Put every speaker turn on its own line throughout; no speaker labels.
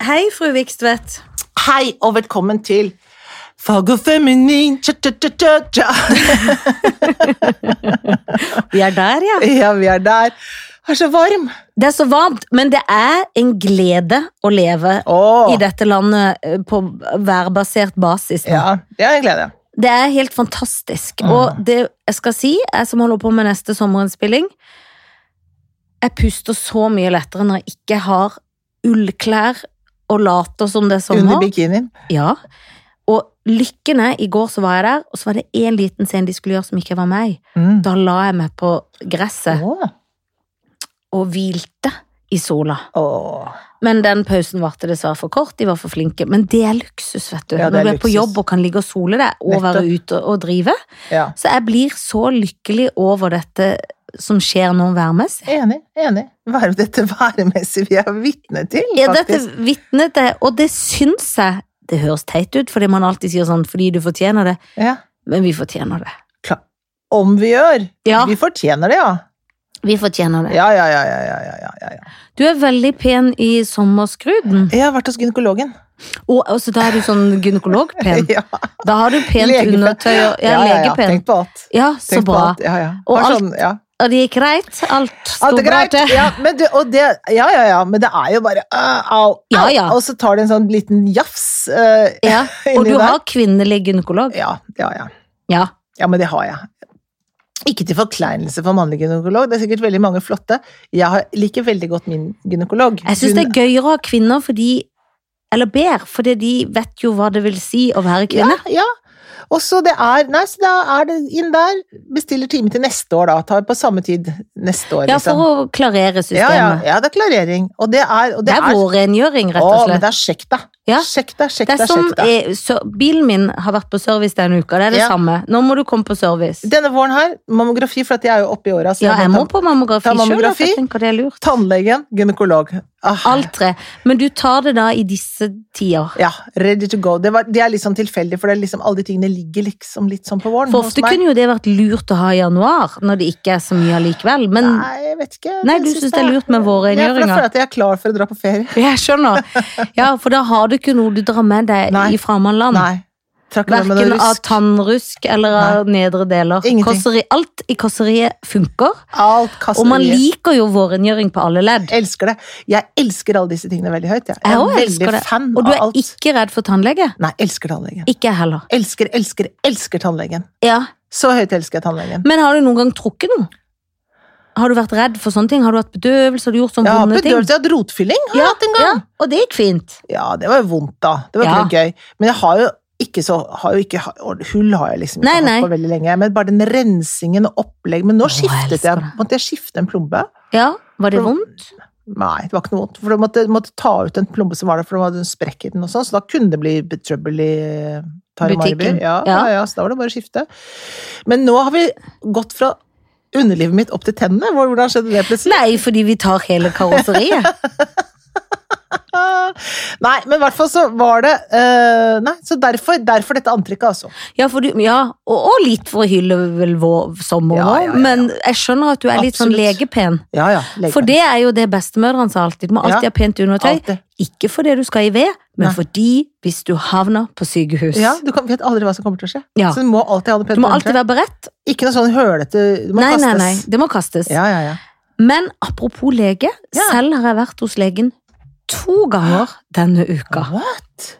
Hei, fru Vikstvedt.
Hei, og velkommen til Fag og feminin tja, tja, tja, tja, tja.
Vi er der, ja.
Ja, vi er der. Det er så varm.
Det er så varmt, men det er en glede å leve
Åh,
i dette landet eh, på værbasert basis. nå.
Ja, Mm. det er en glede.
Det er helt fantastisk. Og det jeg skal si, jeg som holder på med neste sommerinnspilling Jeg puster så mye lettere når jeg ikke har ullklær og later som det er
Under
sommer.
bikinien.
Ja. Og lykken er, i går så var jeg der, og så var det én liten scene de skulle gjøre som ikke var meg.
Mm.
Da la jeg meg på gresset
Åh.
og hvilte i sola.
Åh.
Men den pausen varte dessverre for kort, de var for flinke. Men det er luksus, vet du.
Ja, det er
Når du er på
luksus.
jobb og kan ligge og sole deg, og være
Nettopp.
ute og drive.
Ja.
Så jeg blir så lykkelig over dette som skjer nå værmessig.
Enig, enig. Hva er dette væremessig vi er vitne til,
Ja, dette
faktisk?
vitnet jeg, og det syns jeg Det høres teit ut, fordi man alltid sier sånn fordi du fortjener det,
Ja.
men vi fortjener det.
Klar. Om vi gjør.
Ja,
Vi fortjener det, ja.
vi fortjener det.
Ja, ja, ja, ja, ja, ja, ja, ja.
Du er veldig pen i sommerskruden,
Jeg har vært hos gynekologen.
og og så da er du sånn gynekologpen.
Ja.
Da har du pent
Legepen.
undertøy og ja,
ja, ja, ja.
legepen.
Tenk på alt.
Ja, så
Tenk på
bra.
alt. Ja, ja.
Og
Har
alt-
sånn, ja.
Og det gikk greit? Alt sto
Alt er
bra
greit.
til?
Ja, men du, og det, ja, ja, ja, men det er jo bare øh, au, au.
Ja, ja.
Og så tar det en sånn liten jafs øh,
Ja. Og
inni
du
der.
har kvinnelig gynekolog?
Ja, ja, ja.
Ja.
Ja, men det har jeg. Ikke til forkleinelse for mannlig gynekolog, det er sikkert veldig mange flotte. Jeg har, liker veldig godt min gynekolog.
Jeg syns det er gøyere å ha kvinner fordi Eller bedre, fordi de vet jo hva det vil si å være kvinne.
Ja, ja. Og så det er Nei, så da er det inn der, bestiller time til neste år, da. Tar på samme tid neste år, liksom.
Ja, for å klarere
ja,
systemet.
ja, ja, det er klarering. Og det er, og
Det er vårrengjøring, rett og
Å, men
slett.
det er sjekk deg.
Ja.
Sjekk deg, sjekk
Det er
deg,
som
sjekk deg.
eh, så- Bilen min har vært på service denne uka, det er det
Ja.
samme. Nå må du komme på service.
Denne våren her, mammografi, for at jeg er jo oppe i åra, så
Ja, jeg
må
må på mammografi
Ta
sjøl,
mammografi.
jeg tenker det er lurt.
ta tannlegen, gynekolog. Ah,
Alt tre. Men du tar det da i disse tider.
Ja, ready to go. Det, var, det er litt sånn tilfeldig, for det er liksom, alle de tingene ligger liksom litt sånn på våren.
For
hos
ofte
meg.
kunne jo det vært lurt å ha i januar, når det ikke er så mye allikevel. Men
Nei, jeg vet ikke.
Nei, du synes det er lurt med våre
Ja,
rengjøringer.
for da føler jeg at jeg er klar for å dra på ferie.
jeg skjønner. Ja, for da har du ikke noe du drar med deg
Nei.
i fremmedland.
Nei. Trakk det med
Verken
noe
av
rusk.
tannrusk eller av nedre deler.
Ingenting.
Kåseri, alt i kåseriet funker,
Alt kastet
og man
i.
liker jo vårrengjøring på alle ledd.
Elsker det. Jeg elsker alle disse tingene veldig høyt. Jeg,
Jeg
jeg
òg
er
elsker
veldig
det.
fan
Og du
av
er
alt.
ikke redd for tannlege?
Nei, elsker tannlegen.
Ikke jeg heller.
Elsker, elsker, elsker tannlegen.
Ja.
Så høyt elsker jeg tannlegen.
Men har du noen gang trukket noe? Har du vært redd for sånne ting? Har du hatt bedøvelse? Har du gjort sånne
Jeg har
vonde ting?
bedøvelse, jeg har hatt rotfylling. Har jeg hatt en gang.
Ja, og det gikk fint.
Ja, det var jo vondt, da. Det var ikke noe gøy. Men jeg har jo ikke så har jo ikke, Hull har jeg liksom ikke
Nei,
hatt
nei.
på veldig lenge. Men bare den rensingen og opplegg Men nå
jeg
skiftet
elsker
jeg.
det.
Måtte jeg skifte en plombe?
Ja, var det
For-
vondt?
Nei, det var ikke noe vondt. For jeg måtte, måtte ta ut en plombe som var der, for det var en sprekk i den og sånn. Så da kunne det bli trøbbel i eh, Tarimariby.
Butikken.
Ja, ja.
Ja.
ja, så da var det bare å skifte. Men nå har vi gått fra underlivet mitt opp til tennene. Hvor- Hvordan skjedde det plutselig?
Nei, fordi vi tar hele karosseriet.
Ah, Nei, men i hvert fall så var det eh, Nei, så derfor, derfor dette antrekket, altså.
Ja, for du, ja og, og litt for å hylle vel vår sommer
Ja,
òg,
ja, ja, ja.
men jeg skjønner at du er litt sånn
Absolutt.
legepen.
Ja, ja. legg
For
meg.
det er jo det bestemødrene sa alltid. Du må alltid
Ja.
ha pent undertøy.
Alltid.
Ikke fordi du skal i ved, men
Nei.
fordi hvis du havner på sykehus.
Ja, du kan, vet aldri hva som kommer til å skje.
Ja.
Så du må alltid ha det
Du
pent
må alltid
ordentlig.
være beredt.
Ikke noe sånn hølete Du må
Nei, nei,
kastes.
nei. Det må kastes.
Ja, ja, ja.
Men apropos lege,
Ja.
selv har jeg vært hos legen to ganger denne uka.
What?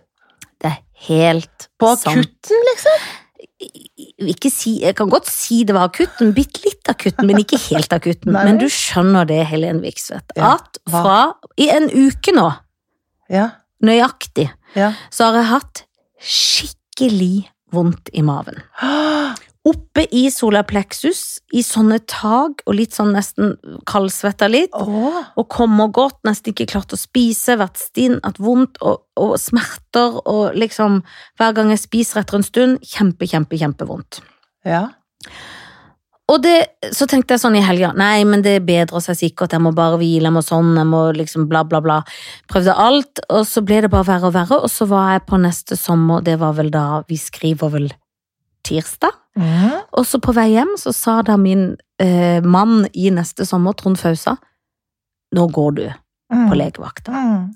Det er helt
På
sant.
akutten, liksom?
Ikke si, jeg kan godt si det var akutten, bitte litt akutten, men ikke helt akutten.
Nei.
men du skjønner det, Helen Viksvedt,
Ja,
at fra i en uke nå,
Ja.
nøyaktig,
ja.
så har jeg hatt skikkelig vondt i maven.
Ah,
Oppe i solaplexus, i sånne tag, og litt sånn nesten kaldsvetta litt,
Åh.
og kommer og gått, nesten ikke klart å spise, vært stinn, hatt vondt og, og smerter, og liksom hver gang jeg spiser etter en stund, kjempe, kjempe, kjempevondt.
Ja.
Og det, så tenkte jeg sånn i helga, nei, men det bedrer seg sikkert, jeg må bare hvile, jeg må sånn, jeg må liksom bla, bla, bla. Prøvde alt, og så ble det bare verre og verre, og så var jeg på neste sommer, det var vel da vi skriver vel tirsdag.
Mhm.
Og så på vei hjem så sa da min eh, mann i neste sommer, Trond Fausa, nå går du. på
Mm.
legevakta.
Mm.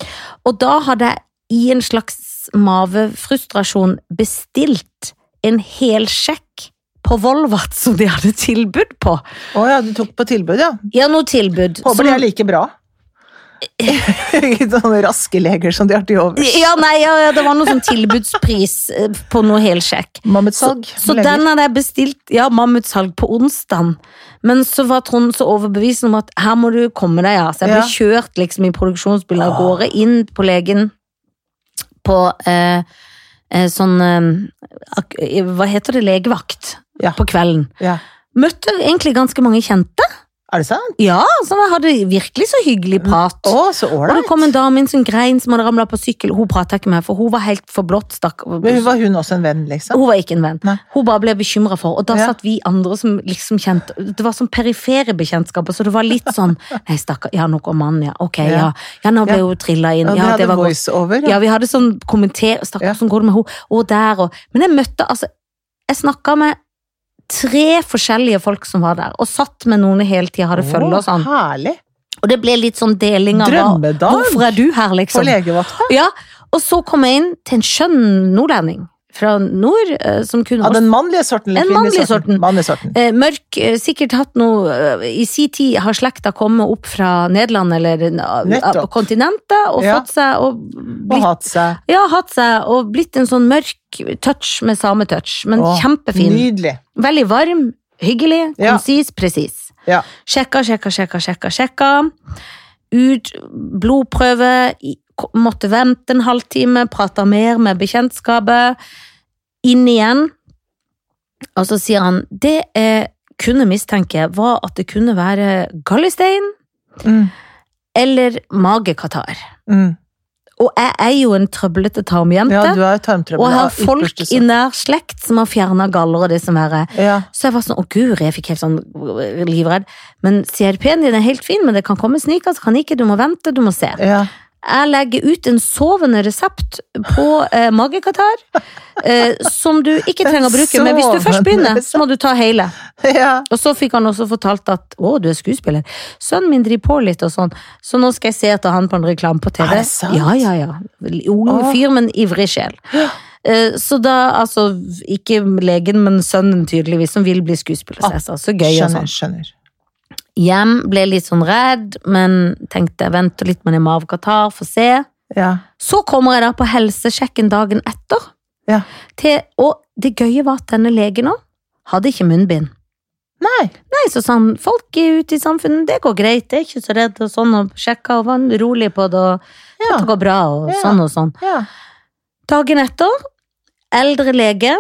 Og da hadde jeg i en slags mavefrustrasjon bestilt en helsjekk på Volvat som de hadde tilbud på.
Å ja, du tok på tilbud, ja.
Ja, noe tilbud.
Håper de er like bra. Ikke Sånne raske leger som de har til overs.
Ja, nei, ja, ja, det var noe sånn tilbudspris eh, på noe helsjekk.
Mammutsalg.
Så, så
leger.
den hadde jeg bestilt, ja, mammutsalg på onsdag. Men så var Trond så overbevist om at her må du komme deg, ja. Så jeg ble
Ja.
kjørt liksom i produksjonsbilen av gårde, inn på legen på eh, eh, sånn eh, ak eh, Hva heter det? Legevakt.
Ja.
På kvelden.
ja.
Møtte egentlig ganske mange kjente.
Er det sant?
Ja, så jeg hadde virkelig så hyggelig prat.
Å, så
Og det
ålreit.
kom en dame inn som grein som hadde ramla på sykkel. Hun prata ikke med meg, for hun var helt forblått, stakkar.
Men var hun også en venn, liksom?
Hun var ikke en venn.
Nei.
Hun bare ble bekymra for, og da
Ja.
satt vi andre som liksom kjente Det var sånn perifere bekjentskaper, så det var litt sånn Nei, stakkar, ja, nå går mannen, ja. Ok,
Ja.
ja. Ja, nå ble
Ja.
hun trilla inn.
Ja,
Ja,
dere
det
hadde
var godt.
voiceover.
Ja, vi hadde sånn kommenter Stakkar,
Ja.
hvordan går det med henne? Og der, og Men jeg møtte, altså Jeg snakka med tre forskjellige folk som var der, og satt med noen hele tida, hadde følge og sånn.
Herlig.
Og det ble litt sånn deling av hva-
Drømmedag
Hvorfor er du her,
på
liksom?
legevakta.
Ja, og så kom jeg inn til en skjønn nordlending fra nord, eh, som kunne
Av
også
den mannlige sorten eller
En
kvinnelige
mannlig
sorten?
sorten.
Mannlig sorten.
eh, Mørk, eh, sikkert hatt noe eh, I si tid har slekta kommet opp fra Nederland eller eh,
Nettopp.
av kontinentet og
Ja.
fått seg og
Og
blitt,
hatt seg.
Ja, hatt seg og blitt en sånn mørk touch med sametouch, men
Å,
kjempefin.
Nydelig.
Veldig varm, hyggelig,
Ja.
konsis, presis.
Ja.
Sjekka, sjekka, sjekka, sjekka, sjekka. Ut, blodprøve, i- ko- måtte vente en halvtime, prata mer med bekjentskapet. Inn igjen. Og så sier han det jeg kunne mistenke, var at det kunne være gallistein
Mm.
eller magekatarr.
Mm.
Og jeg er jo en trøblete tarmjente,
Ja, du har jo tarmtrøbbel.
og
av
har folk
ypperste
i
sort.
nær slekt som har fjerna galler og det som verre.
Ja.
Så jeg var sånn, å guri, jeg fikk helt sånn øh, livredd. Men CRP-en din er helt fin, men det kan komme snikers, kan ikke, du må vente, du må se.
ja.
Jeg legger ut en sovende resept på eh, magekatarr, eh, som du ikke trenger å bruke, men hvis du først begynner, så må du ta hele.
ja.
Og så fikk han også fortalt at, å, du er skuespiller. Sønnen min driver på litt og sånn, så nå skal jeg se etter han på en reklame på TV.
Er det sant?
Ja, ja, ja. Ung
Åh.
fyr, men ivrig sjel. Eh, Så da, altså, ikke legen, men sønnen tydeligvis, som vil bli skuespiller. Så, jeg sa, så gøy og
Skjønner,
sånn.
skjønner.
Hjem ble litt sånn redd, men tenkte, vent litt med det med av Qatar, få se.
Ja.
Så kommer jeg da på helsesjekken dagen etter.
Ja.
Til, og det gøye var at denne legen også hadde ikke munnbind.
Nei.
Nei, så sa han, folk er ute i samfunnet, det går greit, det er ikke så redd og sånn, og sjekka og var rolig på det, og
Ja.
det går bra, og
Ja.
sånn og sånn.
ja.
Dagen etter, eldre lege,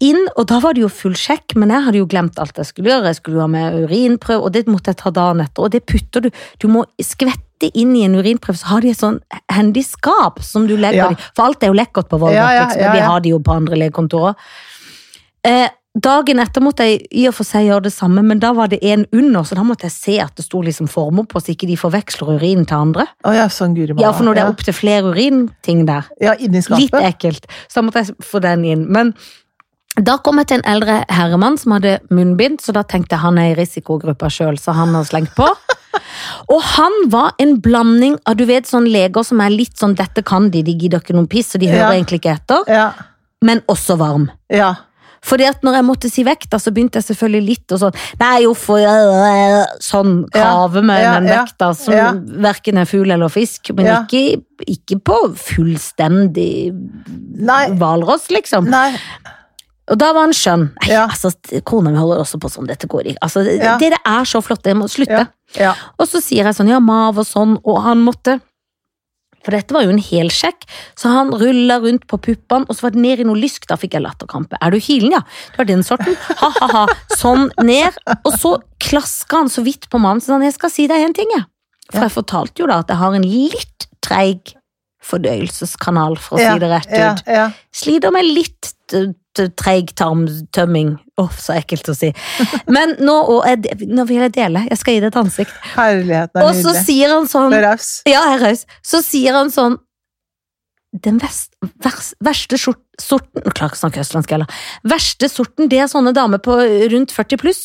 inn, og da var det jo full sjekk, men jeg hadde jo glemt alt jeg skulle gjøre, jeg skulle jo ha med urinprøve, og det måtte jeg ta dagen etter, og det putter du, du må skvette inn i en urinprøve, så har de et sånn handy skap som du legger
Ja.
i, for alt er jo lekkert på Volvat,
Ja, ja,
liksom,
ja,
men
ja.
de har de jo på andre legekontorer. Eh, Dagen etter måtte jeg i og for seg gjøre det samme, men da var det en under, så da måtte jeg se at det sto liksom former på, så ikke de forveksler urinen til andre.
Å ja, sånn guri malla.
Ja, for når det
ja.
er opp til flere urinting der,
Ja, inni skapet.
Litt ekkelt. Så da måtte jeg få den inn. Men da kom jeg til en eldre herremann som hadde munnbind, så da tenkte jeg han er i risikogruppa sjøl, så han har slengt på. Og han var en blanding av du vet, sånne leger som er litt sånn 'dette kan de', de gidder ikke noen piss, så de hører
Ja.
egentlig ikke etter,
Ja.
men også varm.
ja.
Fordi at når jeg måtte si vekta, så begynte jeg selvfølgelig litt og sånn Nei, uff, øh, øh, sånn kave med
Ja,
den
ja,
vekta som
ja.
verken er fugl eller fisk, men
Ja.
ikke, ikke på fullstendig
Nei.
hvalross, liksom.
Nei.
Og da var han skjønn. Nei,
Ja.
altså, kona mi holder også på sånn, dette går ikke. Altså, det-
Ja.
Dere er så flotte, jeg må slutte.
Ja. Ja.
Og så sier jeg sånn, ja, mav og sånn, og han måtte for dette var jo en helsjekk, så han rulla rundt på puppene, og så var det ned i noe lysk. Da fikk jeg latterkrampe. Er du kilen, ja? Du er den sorten. Ha-ha-ha. Sånn ned. Og så klaska han så vidt på mannen, så sa han, jeg skal si deg en ting, jeg. For
Ja.
jeg fortalte jo da at jeg har en litt treig fordøyelseskanal, for å
Ja,
si det rett ut.
Ja. ja.
Sliter med litt t- t- treig tarmtømming. Åh, så ekkelt å si. Men nå, og jeg, nå vil jeg dele. Jeg skal gi det et ansikt.
Herligheten er
Og så
nydelig.
sier han sånn
Du er raus.
Ja, jeg er raus. Så sier han sånn den vest, vers, verste skjort, sorten Jeg klarer ikke å snakke østlandsk heller. Verste sorten, det er sånne damer på rundt 40 pluss.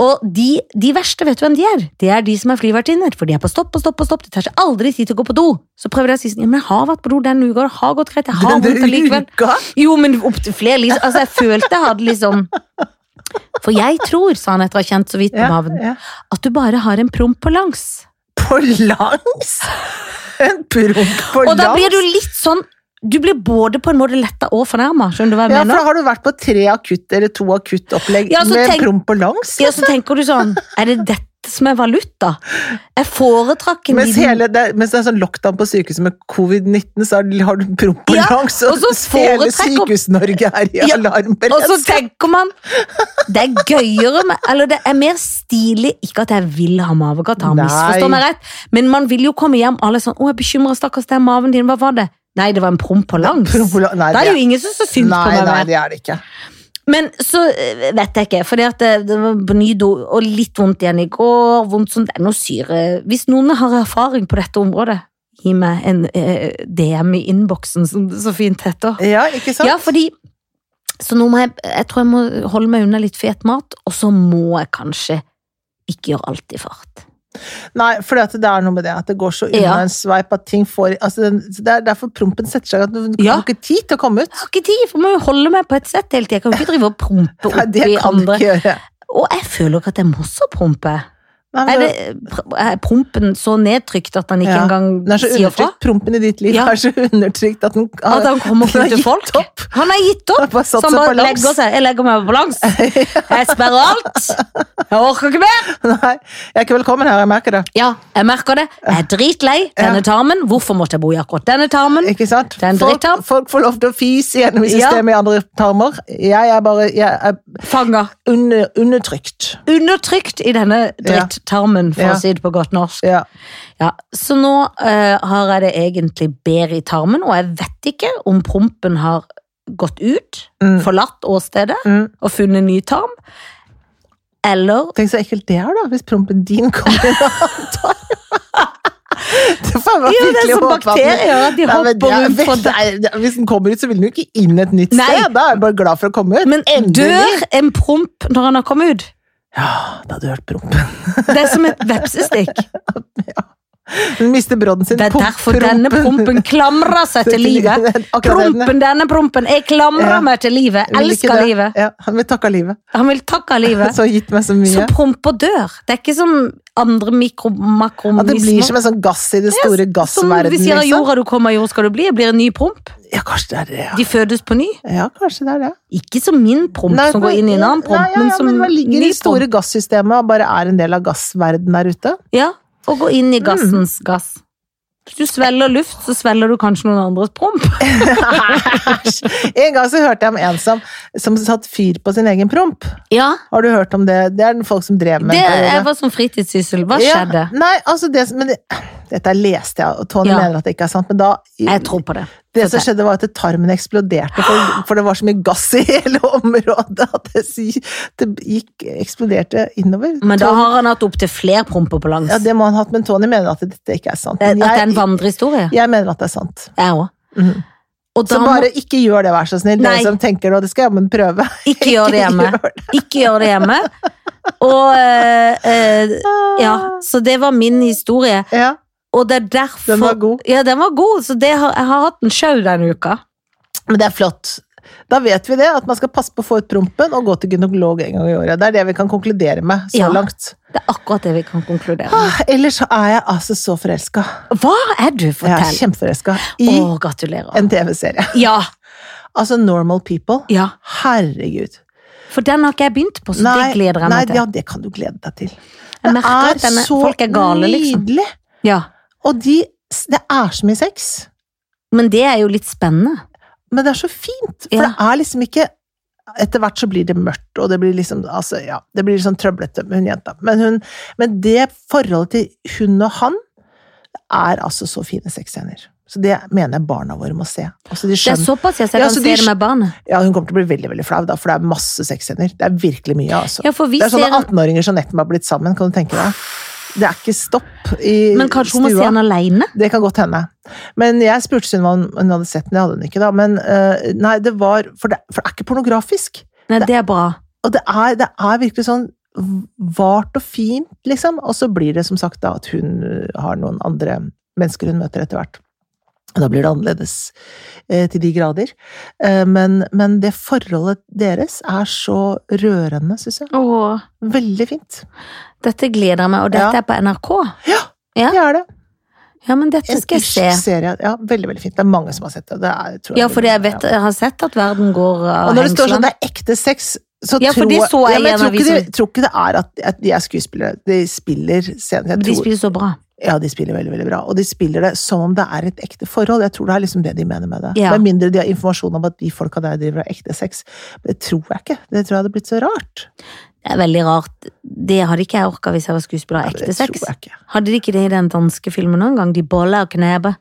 Og de, de verste, vet du hvem de er? Det er de som er flyvertinner, for de er på stopp og stopp og stopp. Det tar seg aldri tid til å gå på do. Så prøver de å si sånn, ja, men jeg har vært på do den uka, det har gått greit, jeg har vondt allikevel.
uka?
Jo, men opp til flere liksom. Altså, jeg følte jeg hadde liksom For jeg tror, sa han etter å ha kjent så vidt på
Ja,
maven,
ja.
at du bare har en promp på langs.
På langs? En promp på langs?
Og da blir du litt sånn Du blir både på en måte letta og fornærma, skjønner du hva jeg
ja, for
mener?
da har du vært på tre akutt eller to akuttopplegg
Ja, så
med
tenk-
promp på langs.
Ja, så tenker du sånn Er det dette som er valuta? Jeg foretrakk en
Mens,
liten
hele, det, er- mens det er sånn lockdown på sykehuset med covid-19, så er- har du promp på
Ja,
langs,
og så
hele
foretrekker-
Sykehus-Norge er i
Ja, Og så
alarmberedskap.
tenker man Det er gøyere med, Eller det er mer stilig Ikke at jeg vil ha mavekatt Han
Nei.
misforstår meg rett Men man vil jo komme hjem Alle er sånn Å, jeg bekymrer stakkars Det er maven din Hva var det? Nei, det var en promp på langs
Promp på lang- nei,
Det er
det
jo
er-
ingen som så synd på
Nei,
meg
nei,
vel?
det er det ikke.
Men så eh, vet jeg ikke Fordi at det, det var på ny do Og litt vondt igjen i går Vondt som det er noe syre Hvis noen har erfaring på dette området Gi meg en eh, DM i innboksen Som det så fint heter
Ja, ikke sant?
ja, fordi Så nå må jeg Jeg tror jeg må holde meg unna litt fet mat, og så må jeg kanskje ikke gjøre alt i fart.
Nei, for det er noe med det at det går så unna
Ja.
en sveip at ting får altså, den- så Det er derfor prompen setter seg at du du
Ja.
har ikke tid til å komme ut.
Jeg har ikke tid, for jeg må jo holde meg på et sett hele tida. Jeg kan jo ikke drive og prompe
Nei,
opp
det
i
kan du
andre.
ikke gjøre.
Og jeg føler ikke at jeg må så prompe.
Nei, men
Er, det, er prompen så nedtrykt at han ikke
Ja. Den
engang
er så
sier fra?
undertrykt. Prompen i ditt liv
Ja.
er så undertrykt at den
At han kommer
Den
kun
har
til
gitt
folk?
opp.
Han har gitt opp!
har bare
Så
satt
han
seg på
bare
langs.
legger seg. Jeg legger meg på langs. Jeg sperrer alt. Jeg orker ikke mer.
Nei, jeg er ikke velkommen her, jeg merker det.
Ja, jeg merker det. Jeg er dritlei denne tarmen. Hvorfor måtte jeg bo i akkurat denne tarmen?
Ikke sant?
Det er en
Folk,
drittarm.
folk får lov til å fise gjennom i
Ja.
systemet i andre tarmer. Jeg er bare jeg er
Fanga.
under, undertrykt.
Undertrykt i denne drittarmen, for
Ja.
å si det på godt norsk.
Ja.
Ja, så nå eh, har jeg det egentlig bedre i tarmen, og jeg vet ikke om prompen har gått ut,
Mm.
forlatt åstedet
Mm.
og funnet ny tarm, eller
Tenk så ekkelt det er, da, hvis prompen din kommer i en annen tarm. Det får jeg bare
Jo, det er
virkelig
som
håpe at den-
bakterier, at de
Nei, men
hopper
jeg
rundt
vet-
fra det.
nei, Hvis den kommer ut, så vil den jo ikke inn et nytt
Nei.
sted. Da er jeg bare glad for å komme ut.
Men dør en promp når han har kommet ut?
Ja, da hadde du hørt prompen.
Det er som et vepsestikk.
Den mister brodden sin.
Det er
Pump-
derfor denne prompen klamrer seg til livet.
Akkurat det den er.
Prompen, denne prompen, jeg klamrer
Ja.
meg til livet.
Jeg vil ikke
Elsker
det.
livet.
Ja, han vil takke livet.
Han vil takke av livet.
Så har gitt meg så
Så
mye.
promper dør. Det er ikke som andre mikro,
At det blir
makromismer.
som en sånn gass i det
Som
store
vi
gassverdenen.
sier av
liksom.
jorda du kommer, av jord skal du bli. Jeg blir en ny promp.
Ja, kanskje det er det, ja.
De fødes på ny.
Ja, kanskje det er det.
Ikke som min promp
Nei,
som
men-
går inn i en annen promp,
Nei, ja,
men
ja,
som
men man ligger i
ny
det store gassystemet og bare er en del av gassverdenen der ute.
promp. Ja, og går inn i gassens
Mm.
gass. Hvis du svelger luft, så svelger du kanskje noen andres promp.
en gang så hørte jeg om en som, som satt fyr på sin egen promp.
Ja,
Har du hørt om det? Det er den folk som drev med
det
en periode.
jeg var som fritidssyssel. Hva
Ja,
skjedde?
Nei, altså det, som- men det, dette leste jeg, og Tony
Ja.
mener at det ikke er sant, men da
Jeg tror på det.
Det som skjedde var at tarmen eksploderte, for, for det var så mye gass i hele området at det, sy- det gikk, eksploderte innover.
Men da
Tony-
har han hatt opptil flere promper på langs. Eh,
ja, det må han ha hatt, men Tony mener at dette ikke er sant.
At
Men
det er en
jeg,
vandrehistorie.
jeg mener at det er sant.
Jeg òg.
Mhm.
Og da
Så bare ikke gjør det, vær så snill,
Nei.
dere som tenker nå, det skal jeg jammen prøve.
må ikke gjør det hjemme.
Gjør det.
Ikke gjør det hjemme. Og eh, eh, Ja, så det var min historie.
Ja,
Og det er derfor
den var god.
Ja, den var god, så det har, jeg har hatt en sjau denne uka.
Men det er flott. Da vet vi det, at man skal passe på å få ut prompen og gå til gynekolog en gang i året. Det er det vi kan konkludere med så
Ja.
langt.
Det er akkurat det vi kan konkludere med.
Ah, Ellers så er jeg altså så forelska.
Hva er du?
Jeg er
Fortell.
kjempeforelska
Å,
i
gratulerer.
en TV-serie.
Ja,
Altså Normal People.
ja.
Herregud.
For den har ikke jeg begynt på, så det gleder jeg
nei,
meg til.
ja, det kan du glede deg til.
Jeg merker at denne, folk er gale, liksom.
nydelig!
Ja.
Og de, det er så mye sex,
Men det er jo litt spennende.
men det er så fint. For
Ja.
det er liksom ikke Etter hvert så blir det mørkt, og det blir liksom altså, ja, det blir sånn trøblete med hun jenta. Men, hun, men det forholdet til hun og han det er altså så fine sexscener. Så det mener jeg barna våre må se. Altså, de
Det er
skjønner
såpass, ja, så jeg
Ja,
kan
så
se
de
det med barnet.
Ja, hun kommer til å bli veldig veldig flau, da, for det er masse sexscener. Det er virkelig mye, altså.
Ja, for vi
det er
ser
sånne 18-åringer som nettopp har blitt sammen, kan du tenke deg. Det er ikke stopp i
Men kanskje hun må se
stua.
den alene?
Det kan godt hende. Men jeg spurte Sunniva om hun hadde sett den, det hadde hun ikke da. Men eh, nei, det var For det, for det er ikke pornografisk.
Nei, det er bra.
Og det er, det er virkelig sånn vart og fint, liksom. Og så blir det som sagt da at hun eh, har noen andre mennesker hun møter etter hvert. Og Da blir det annerledes eh, til de grader. Eh, men, men det forholdet deres er så rørende, syns jeg.
Åh.
Veldig fint.
Dette gleder jeg meg, og dette
Ja.
er på NRK. Ja.
Det er det.
Ja, men dette
En
skal jeg
irsk
se.
serie. Ja, veldig, veldig fint. Det er mange som har sett det. det er, tror jeg,
Ja, fordi jeg vet,
Ja.
jeg har sett at verden går eh, av
Og når det står sånn
hengslene.
det er ekte sex, så
Ja, for
tror
det så jeg
men
i en
tror ikke,
avis.
det, tror ikke det er at, at de er skuespillere. De spiller scener. Jeg
De
tror,
spiller så bra.
ja, de spiller veldig, veldig bra. Og de spiller det som om det er et ekte forhold. Jeg tror det er liksom det de mener med det.
Ja.
Med mindre de har informasjon om at de folka der driver av ekte sex. Det tror jeg ikke. Det tror jeg hadde blitt så rart.
Det er veldig rart. Det hadde ikke jeg orka hvis jeg var skuespiller av
Ja,
ekte
det
sex.
tror jeg ikke.
Hadde de ikke det i den danske filmen noen gang? De boller og kneber.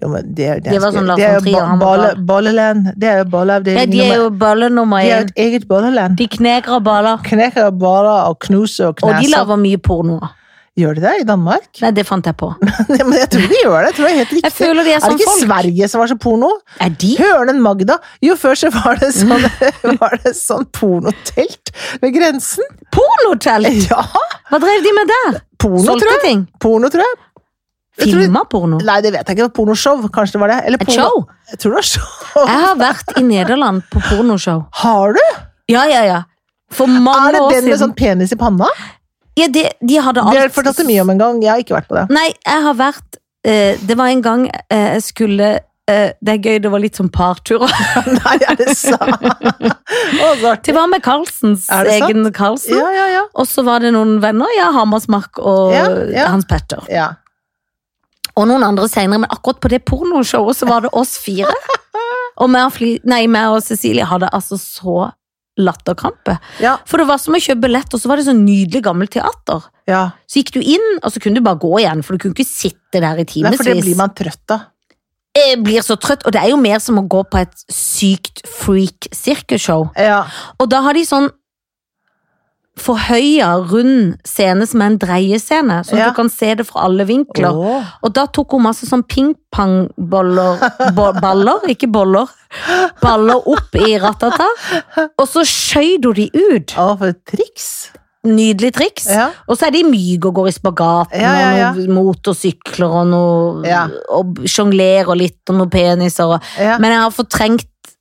Jo, men det, er- det,
Det var sånn Lars
det er jo
von Trier,
ba-
han var
balle-
gal.
Balleland. Det er jo
Ja,
balleavdeling
de er jo
nummer-
baller nummer
de er jo
én.
et eget balleland.
De kneker og baller.
Knekker og baler og knuser og
Og de
knaser.
lager mye porno.
Gjør de det i Danmark?
Nei, det fant jeg på.
Men jeg tror de gjør det. Jeg tror det er helt
Jeg
riktig.
føler de er
Er det
sånn
ikke
folk.
Sverige som var så porno?
Er de?
Hørnen Magda! Jo, før så var det sånn,
Mm.
var det sånn pornotelt ved grensen.
Pornotelt!
Ja!
Hva drev de med der?
Porno, tror
Solgte
jeg.
ting?
Porno, tror jeg. Jeg tror-
Filma porno?
Nei, det vet jeg ikke. Pornoshow, kanskje det var det? Eller
Et
porno...
show?
Jeg tror det var show.
Jeg har vært i Nederland på pornoshow.
Har du?
Ja, ja, ja. For
Er
mange
det
år
den med
siden.
sånn penis i panna?
Ja, de, de hadde alt.
Det har jeg fortalt mye om en gang. Jeg har ikke vært på det.
Nei, jeg har vært eh, Det var en gang eh, jeg skulle eh, Det er gøy, det var litt som parturer.
Nei, er det sant? Å, så
Det
artig.
var med Carlsens
Er det sant?
egen Carlsen.
Ja, ja, ja.
Og så var det noen venner. Ja, Hammersmark og
Ja, ja.
Hans Petter.
ja.
Og noen andre senere, men akkurat på det pornoshowet så var det oss fire. Og meg og, Fli, nei, meg og Cecilie hadde altså så latterkrampe.
Ja,
For det var som å kjøpe billett, og så var det sånn nydelig gammelt teater.
ja.
Så gikk du inn, og så kunne du bare gå igjen, for du kunne ikke sitte der i
Nei,
timevis.
for det blir man trøtt av.
Jeg blir så trøtt, og det er jo mer som å gå på et sykt freak sirkusshow.
Ja.
Og da har de sånn forhøya, rund scene som er en dreiescene, sånn at
Ja.
du kan se det fra alle vinkler.
Åh.
Og da tok hun masse sånn ping-pong-boller bo Baller, ikke boller. Baller opp i ratata. Og så skjøyd hun de ut.
Å, for et triks!
Nydelig triks.
Ja.
Og så er de myke og går i spagaten,
Ja, ja, ja.
og noen motorsykler og noe
Ja.
Og sjonglerer litt, og noen peniser og
Ja.
Men jeg har fortrengt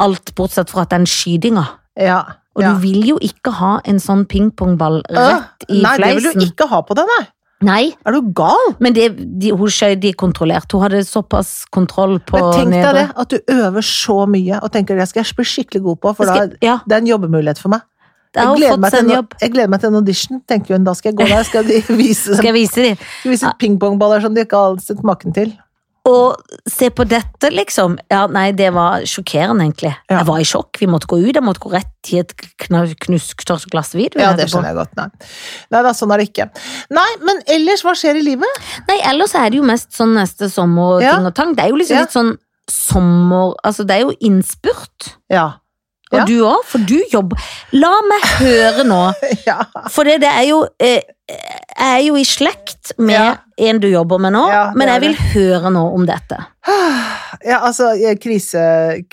alt bortsett fra at den skytinga.
ja.
Og
ja.
du vil jo ikke ha en sånn pingpongball rett i
Nei, det vil du
fleisen.
ikke ha på deg, nei!
Nei,
Er du gal?
men det, de, hun skjøt de kontrollert. Hun hadde såpass kontroll på
Men tenk deg
nedre.
det, at du øver så mye og tenker det skal jeg bli skikkelig god på, for
Jeg skal-
da
ja,
det er en jobbemulighet for meg.
jeg har
gleder
fått
meg
seg
til
en
en-
jobb.
jeg gleder meg til en audition, tenker hun. Da skal jeg gå der, skal de vise,
Skal jeg vise dem?
skal vise pingpongballer som de ikke har sett maken til.
Og se på dette, liksom. Ja, nei, det var sjokkerende, egentlig.
Ja.
Jeg var i sjokk. Vi måtte gå ut. Jeg måtte gå rett i et kna- knusktørt glass hvitvin.
Ja, det skjønner jeg godt. Nei. nei da, sånn er det ikke. Nei, men ellers, hva skjer i livet?
Nei, ellers er det jo mest sånn neste sommer og
Ja.
ting og tang. Det er jo liksom
Ja.
litt sånn sommer Altså, det er jo innspurt.
Ja.
Og
Ja.
du òg, for du jobber La meg høre nå,
Ja.
for det, det er jo eh, Jeg er jo i slekt med
Ja.
en du jobber med nå,
Ja, det
men jeg
er
vil høre nå om dette.
ja altså, eh, krise,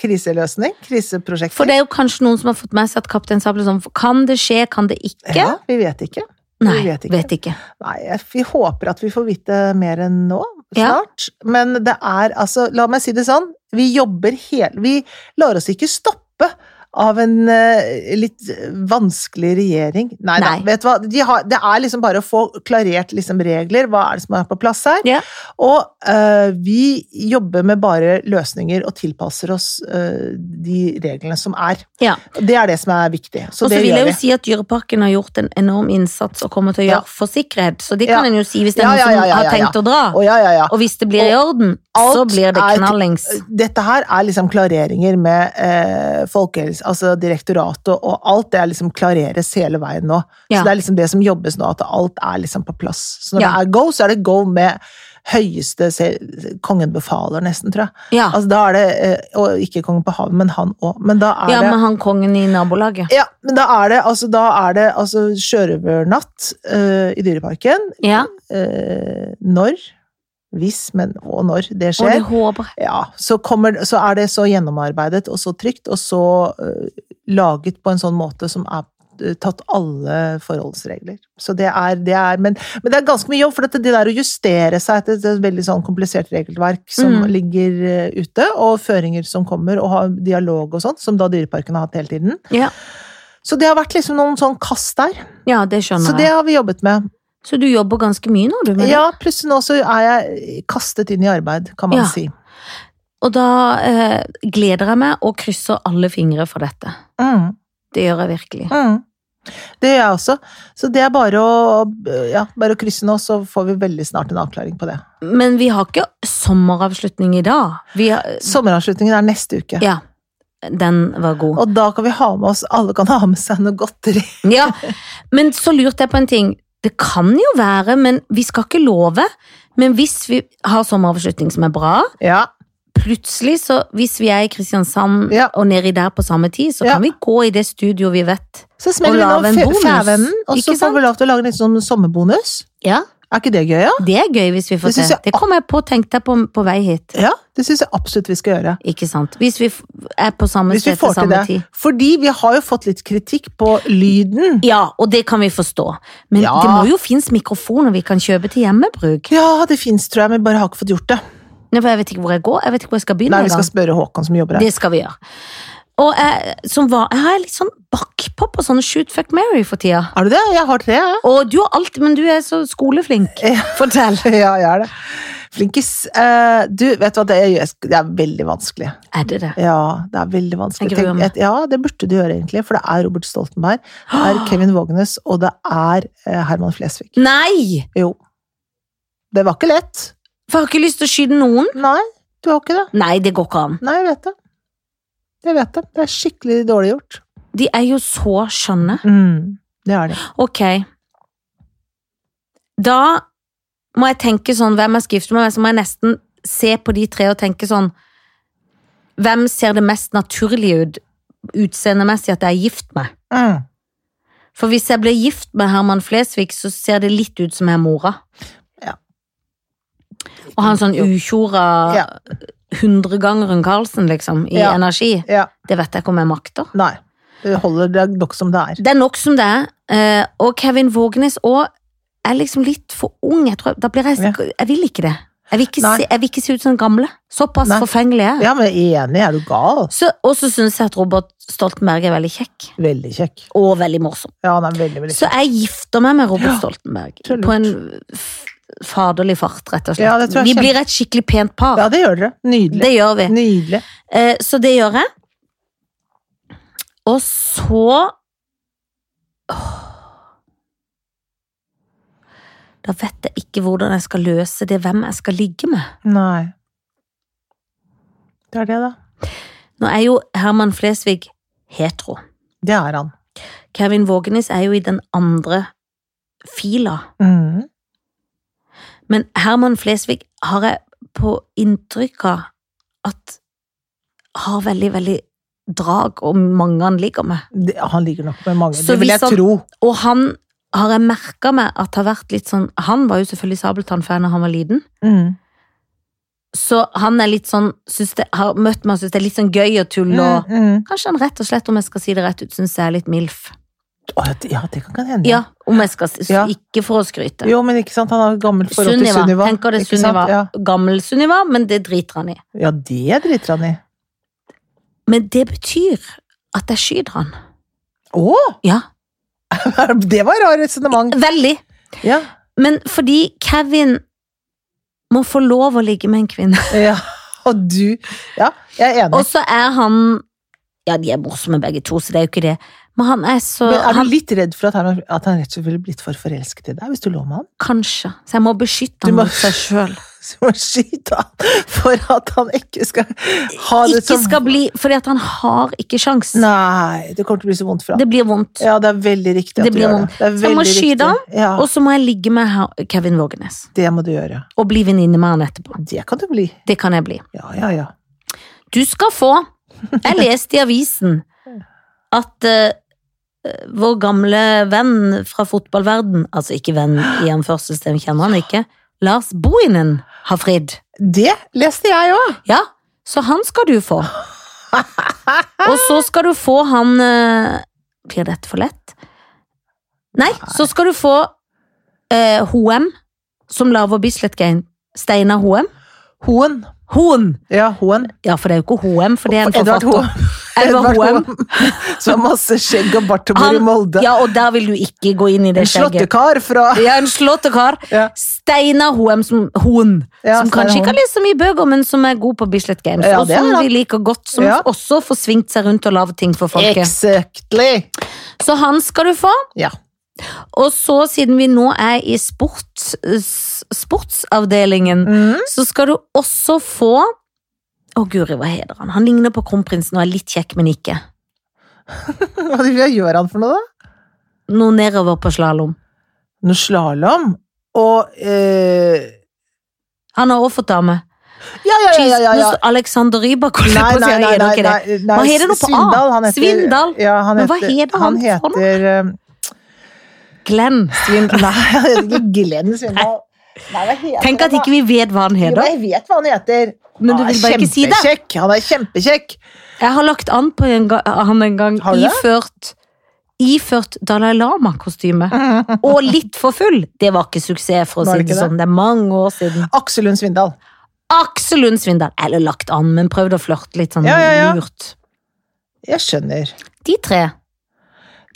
kriseløsning? Kriseprosjekter?
For det er jo kanskje noen som har fått med seg at Kaptein Sabel er sånn Kan det skje, kan det ikke?
Ja, vi vet ikke.
Nei,
vi vet
vet
ikke.
ikke.
Nei, jeg- vi håper at vi får vite mer enn nå,
Ja.
snart. Men det er altså, la meg si det sånn, vi jobber hele Vi lar oss ikke stoppe av en eh, litt vanskelig regjering. Nei, da,
Nei.
vet du hva, De har, det er liksom bare å få klarert liksom regler, hva er det som er på plass her?
Ja.
Og eh, vi jobber med bare løsninger og tilpasser oss eh, de reglene som er.
Ja.
Det er det som er viktig. Så
Og så
det
vil
gjør
jeg
vi.
jo si at Dyreparken har gjort en enorm innsats og kommer til å
Ja.
gjøre for sikkerhet, så det
Ja.
kan en jo si hvis det er
Ja,
noen
ja,
som
ja, ja, ja,
har tenkt
ja.
å dra.
Å, ja, ja, ja.
Og hvis det blir i orden,
alt
så blir det
er-
knallings.
Dette her er liksom klareringer med eh, folkehelse, altså direktoratet og alt det er liksom klareres hele veien nå.
Ja.
Så det er liksom det som jobbes nå, at alt er liksom på plass. Så når
Ja.
det er go, så er det go med høyeste se- Kongen befaler, nesten, tror jeg.
Ja.
Altså, da er det, eh, Og ikke kongen på havet, men han òg. Men da er
ja,
det
med han kongen i nabolaget.
ja, men da er det altså, da er det, altså sjørøvernatt eh, i Dyreparken.
Ja,
Eh, når, hvis, men og når det
og det
skjer,
håper jeg.
ja, så, kommer, så er det så gjennomarbeidet og så trygt, og så eh, laget på en sånn måte som er eh, tatt alle forholdsregler. Så det er, det er men, men det er ganske mye jobb, for dette, det der å justere seg etter et veldig sånn komplisert regelverk som
Mm.
ligger eh, ute, og føringer som kommer, og ha dialog og sånt, som da Dyreparken har hatt hele tiden.
Ja.
Så det har vært liksom noen sånn kast der.
Ja, det skjønner
Så det
jeg.
har vi jobbet med.
Så du jobber ganske mye nå, du, med det?
Ja, plutselig nå så er jeg kastet inn i arbeid, kan man
Ja.
si.
Og da eh, gleder jeg meg og krysser alle fingre for dette.
Mm,
Det gjør jeg virkelig.
mm. Det gjør jeg også. Så det er bare å, ja, bare å krysse nå, så får vi veldig snart en avklaring på det.
Men vi har ikke sommeravslutning i dag. Vi har,
Sommeravslutningen er neste uke.
ja, den var god.
Og da kan vi ha med oss Alle kan ha med seg noe godteri.
Ja, men så lurte jeg på en ting. Det kan jo være, men vi skal ikke love. Men hvis vi har sommeravslutning som er bra,
Ja.
plutselig så Hvis vi er i Kristiansand
Ja.
og nedi der på samme tid, så
Ja.
kan vi gå i det studio vi vet.
Så smeller
Og lage en
vi nå
bonus.
fe- fævennen, og
Ikke
så får
sant?
vi lov til å lage en litt sånn sommerbonus.
Ja.
Er ikke det gøy, ja?
Det er gøy hvis vi får
Det
til.
synes jeg-
Det kom jeg på og tenkte jeg på på vei hit.
Ja, det syns jeg absolutt vi skal gjøre.
Ikke sant. Hvis vi f- er på samme
Hvis vi
sted til
får til
samme
det.
tid. Mm.
Fordi vi har jo fått litt kritikk på lyden.
Ja, og det kan vi forstå. Men
Ja.
det må jo finnes mikrofoner vi kan kjøpe til hjemmebruk.
Ja, det fins, tror jeg, men vi bare har ikke fått gjort det.
Nei, for Jeg vet ikke hvor jeg går. Jeg vet ikke hvor jeg skal begynne.
Nei,
engang.
vi skal spørre Håkon som jobber her.
Det skal vi gjøre. Og jeg, som var, jeg har litt sånn bakpå på sånn shoot fuck Mary for tida.
Er du det? Jeg har tre, jeg.
Og du har alt, men du er så skoleflink. Fortell.
Ja, jeg er det. Flinkis. Eh, du, vet du hva, det er, jeg sk- det er veldig vanskelig.
Er det det?
Ja, det er veldig vanskelig.
Jeg gruer
Tenk-
meg.
et- ja, det burde du gjøre, egentlig, for det er Robert Stoltenberg, det er Kevin Vågenes, og det er eh, Herman Flesvig.
Nei!
Jo. Det var ikke lett.
For jeg har ikke lyst til å skyte noen.
Nei, du har ikke det.
Nei, det går ikke an.
Nei, jeg vet det. Jeg vet det. Det er skikkelig dårlig gjort.
De er jo så skjønne.
Mm, det er det.
Ok. Da må jeg tenke sånn, hvem jeg skal gifte meg med, så må jeg nesten se på de tre og tenke sånn Hvem ser det mest naturlig ut utseendemessig at jeg er gift med?
Mm.
For hvis jeg blir gift med Herman Flesvig, så ser det litt ut som jeg er mora.
Ja.
Og han sånn
Jo.
utjorda
Ja.
hundregangeren Karlsen, liksom, i
Ja.
energi.
Ja.
Det vet jeg ikke om jeg makter.
Nei. Det holder det er nok som det er.
Det er nok som det er. eh, Og Kevin Vågenes òg er liksom litt for ung. Jeg, tror, da blir jeg, jeg vil ikke det. Jeg vil ikke,
Nei.
se, jeg vil ikke se ut som den gamle. Såpass
Nei.
forfengelig er jeg.
Ja, men enig, er du gal?
Så- Og så syns jeg at Robert Stoltenberg er veldig kjekk.
Veldig kjekk.
Og veldig morsom.
Ja, han er veldig, veldig
Så jeg gifter meg med Robert
Ja,
Stoltenberg
så lurt.
på en f- faderlig fart, rett og slett.
Ja, det tror jeg
vi
kjempe-
blir et skikkelig pent par.
Ja, det gjør dere. Nydelig.
det gjør vi.
Nydelig.
Eh, så det gjør jeg. Og så Åh. Da vet jeg ikke hvordan jeg skal løse det, hvem jeg skal ligge med.
Nei. Det er det, da.
Nå er jo Herman Flesvig hetero.
Det er han.
Kevin Vågenes er jo i den andre fila.
Mm.
Men Herman Flesvig har jeg på inntrykk av at har veldig, veldig drag, og mange han ligger med.
Det, han ligger nok med mange.
Så hvis
det vil jeg
han-
tro.
Og han har jeg merka meg at har vært litt sånn Han var jo selvfølgelig Sabeltann-fan da han var liten,
Mm.
så han er litt sånn synes det, Har møtt meg og syns det er litt sånn gøy å tulle og
Mm, mm.
Kanskje han rett og slett, om jeg skal si det rett ut, syns jeg er litt MILF.
Å, ja, det- ja, det kan hende.
Ja, om jeg skal si
Ja.
Ikke for å skryte.
Jo, men ikke sant, han har et gammelt forhold til
Sunniva.
Sunniva.
Tenker det
Ikke sant?
Sunniva.
Ja.
Gammel Sunniva, men det driter han i.
ja, det driter han i.
Men det betyr at jeg skyter han.
Å!
Ja,
Det var et rart resonnement.
veldig.
Ja.
Men fordi Kevin må få lov å ligge med en kvinne.
ja. Og du Ja, jeg er enig.
Og så er han Ja, de er morsomme begge to, så det er jo ikke det. Men han er så
Men er du
han,
litt redd for at han, at han rett og slett ville blitt for forelsket i deg hvis du lå med han?
Kanskje. Så jeg må beskytte han
Du må-
mot seg sjøl.
som må skyte han for at han ikke skal ha det
Ikke
som
skal bli Fordi at han har ikke sjans.
Nei, det kommer til å bli så vondt for han.
Det blir vondt.
Ja, det er veldig riktig at
Det
du
blir
gjør
vondt.
det. det er
Så jeg må
veldig
skyte
riktig. Ja,
Og så må jeg ligge med her- Kevin Vågenes.
det må du gjøre.
Og bli venninne med han etterpå.
Det kan du bli.
Det kan jeg bli.
Ja, ja, ja.
Du skal få Jeg leste i avisen at eh, vår gamle venn fra fotballverden, altså ikke venn i anførselstegn, kjenner han ikke, Lars Bohinen har fridd.
Det leste jeg òg!
Ja, så han skal du få. Og så skal du få han eh, Blir dette for lett? Nei, så skal du få eh, Hoem, som lager Bislett Game. Steinar Hoem.
Hoen.
Hoem!
Ja, Hoen.
Ja, for det er jo ikke Hoem, for det er en
Edvard
forfatter.
Hoem.
Edvard
Edvard
Hoem.
Hoem. Som har masse skjegg og bart og bor i
Han-
Molde.
Ja, og der vil du ikke gå inn i det
En
skjegget.
slåttekar fra
Ja, en slåttekar.
Ja.
Steinar Hoem, som, Hoen,
Ja,
som
Steinar
kanskje ikke
Hoem.
har lest så mye bøker, men som er god på Bislett Games,
Ja,
og
det er
som
han.
vi liker godt, som
Ja.
også får svingt seg rundt og laget ting for folket.
Exactly!
Så han skal du få.
Ja.
Og så, siden vi nå er i sports, s- sportsavdelingen,
Mm.
så skal du også få Å, guri, hva heter han? Han ligner på kronprinsen og er litt kjekk, men ikke.
Hva er det jeg gjør han for noe, da?
Noe nedover på slalåm.
Noe slalåm? Og eh...
Han har også fått dame.
ja, ja, ja, ja, ja, ja.
Nå står Alexander Rybak holdt jeg
Nei,
på å si,
nei,
han
nei,
er nok
nei,
ikke det.
nei, nei.
Hva heter det nå på A?
Svindal, han heter,
Svindal?
Ja, han
Men
heter,
hva heter han for noe?
heter eh,
Glenn Svindal.
Nei, han heter ikke eh, Glenn Svindal. Nei, hva heter
Tenk at
han da?
ikke vi vet hva han
Jo,
heter.
jeg vet hva han heter.
Men du
Han er
vil bare ikke si det.
kjempekjekk. Han er kjempekjekk.
Jeg har lagt an på en ga eh, han en gang
Har du det?
iført Iført Dalai Lama-kostyme. Og litt for full. Det var ikke suksess, for å
Var
si
det
det
ikke
sånn. Det er mange år siden.
Aksel Lund Svindal.
Aksel Lund Svindal. Eller lagt an, men prøvd å flørte litt sånn
Ja, ja, ja.
lurt.
Jeg skjønner.
De tre.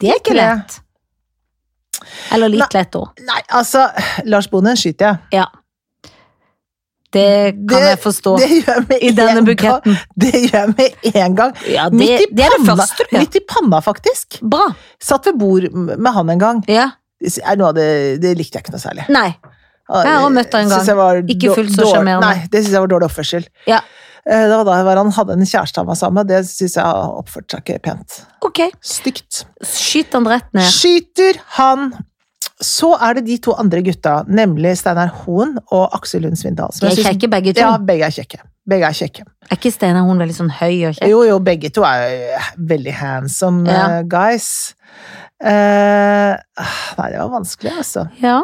Det er
De
ikke
tre.
lett. Eller litt lett òg.
Nei, altså, Lars Bohnen skyter jeg.
Ja. Det kan
Det-
jeg forstå.
Det gjør jeg med
I denne
en gang.
buketten.
Det gjør jeg med en gang.
Ja, det,
Midt i
det er det
panna.
første du gjør.
Midt i panna, faktisk.
Bra.
Satt ved bord med han en gang.
Ja.
Det er noe av det, det likte jeg ikke noe særlig.
Nei. Jeg har også møtt han en gang.
Synes jeg var
Ikke fullt så
dår-
sjarmerende.
Nei, det syns jeg var dårlig oppførsel.
Ja.
Eh, Det var da var han hadde en kjæreste han var sammen med, det syns jeg oppførte seg ikke pent.
Ok.
Stygt.
Skyt han rett ned.
Skyter han Så er det de to andre gutta, nemlig Steinar Hoen og Aksel Lund Svindal. som
De
jeg
er
synes-
kjekke, begge to.
sånn- Ja, begge er kjekke. Begge er kjekke.
Er ikke Steinar Hoen veldig sånn høy og kjekk?
Jo, jo, begge to er eh, veldig handsome
Ja.
eh, guys. Eh, nei, det var vanskelig, altså.
Ja.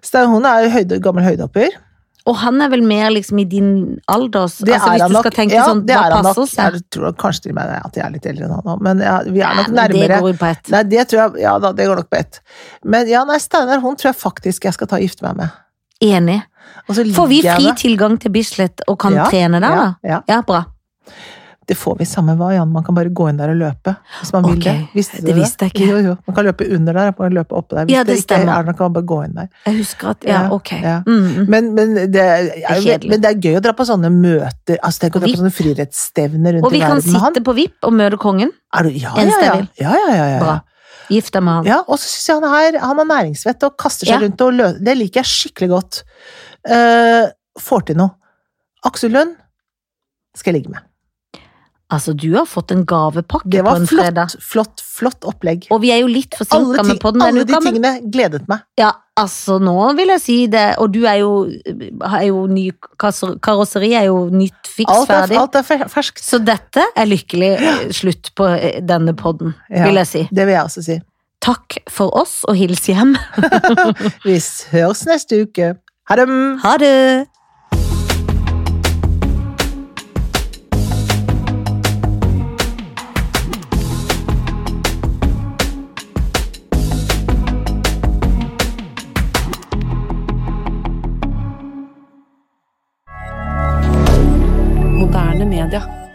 Steinar Hoen er jo høyde, gammel høydehopper.
Og han er vel mer liksom i din alder? så-
Det
altså,
er
hvis
han
du
nok.
skal tenke
ja,
sånn,
det er
hva
han nok.
passer seg?
Jeg tror kanskje til og med at jeg er litt eldre enn han òg, men ja, vi er nok
Nei, men Det
nærmere.
går jo på ett.
Nei, det tror jeg Ja da, det går nok på ett. Men ja, nei, Steinar Hoen tror jeg faktisk jeg skal ta og gifte meg med.
Enig.
Og så
Får vi
ligger jeg
fri
med-
tilgang til Bislett og kan
Ja,
trene der, da?
Ja, ja.
Ja, bra.
Det får vi samme hva, Jan. Man kan bare gå inn der og løpe. Hvis man vil
Ok,
det. Visste du
det visste jeg ikke.
Jo, jo. Man kan løpe under der, man kan løpe oppe der. Hvis
Ja, det
ikke er
stemmer.
der, kan man bare gå inn der.
Jeg husker at Ja,
Ja,
ok.
ja.
Mm, mm.
Men, men, det, er,
kjedelig.
men det er gøy å dra på sånne møter. Altså, tenk å dra
vi-
på sånne friidrettsstevner rundt
Og vi
i
kan
verden med han.
sitte på VIP og møte kongen.
Er du, ja, ja,
Eneste
ja.
jeg vil.
ja, ja, ja, ja, ja.
Bra. Gift deg med han.
Ja, og så syns jeg han, er, han har næringsvett og kaster
Ja.
seg rundt og lø Det liker jeg skikkelig godt. Eh, får til noe. Aksel Lund skal jeg ligge med.
Altså, du har fått en gavepakke
Det
på
var
en fredag.
flott, flott, flott opplegg.
Og vi er jo litt
Alle,
forsinka
ting,
med podden
alle
denne
de
uka, men
tingene gledet meg.
ja, altså, nå vil jeg si det. Og du er jo, er jo ny kasser- Karosseri er jo nytt fiks
Alt er,
ferdig.
alt er fer- ferskt.
Så dette er lykkelig eh, slutt på eh, denne podden,
Ja.
vil jeg si.
Det vil jeg også si.
Takk for oss, og hils hjem.
Vi høres neste uke. Ha det!
Ha det!
Moderne media.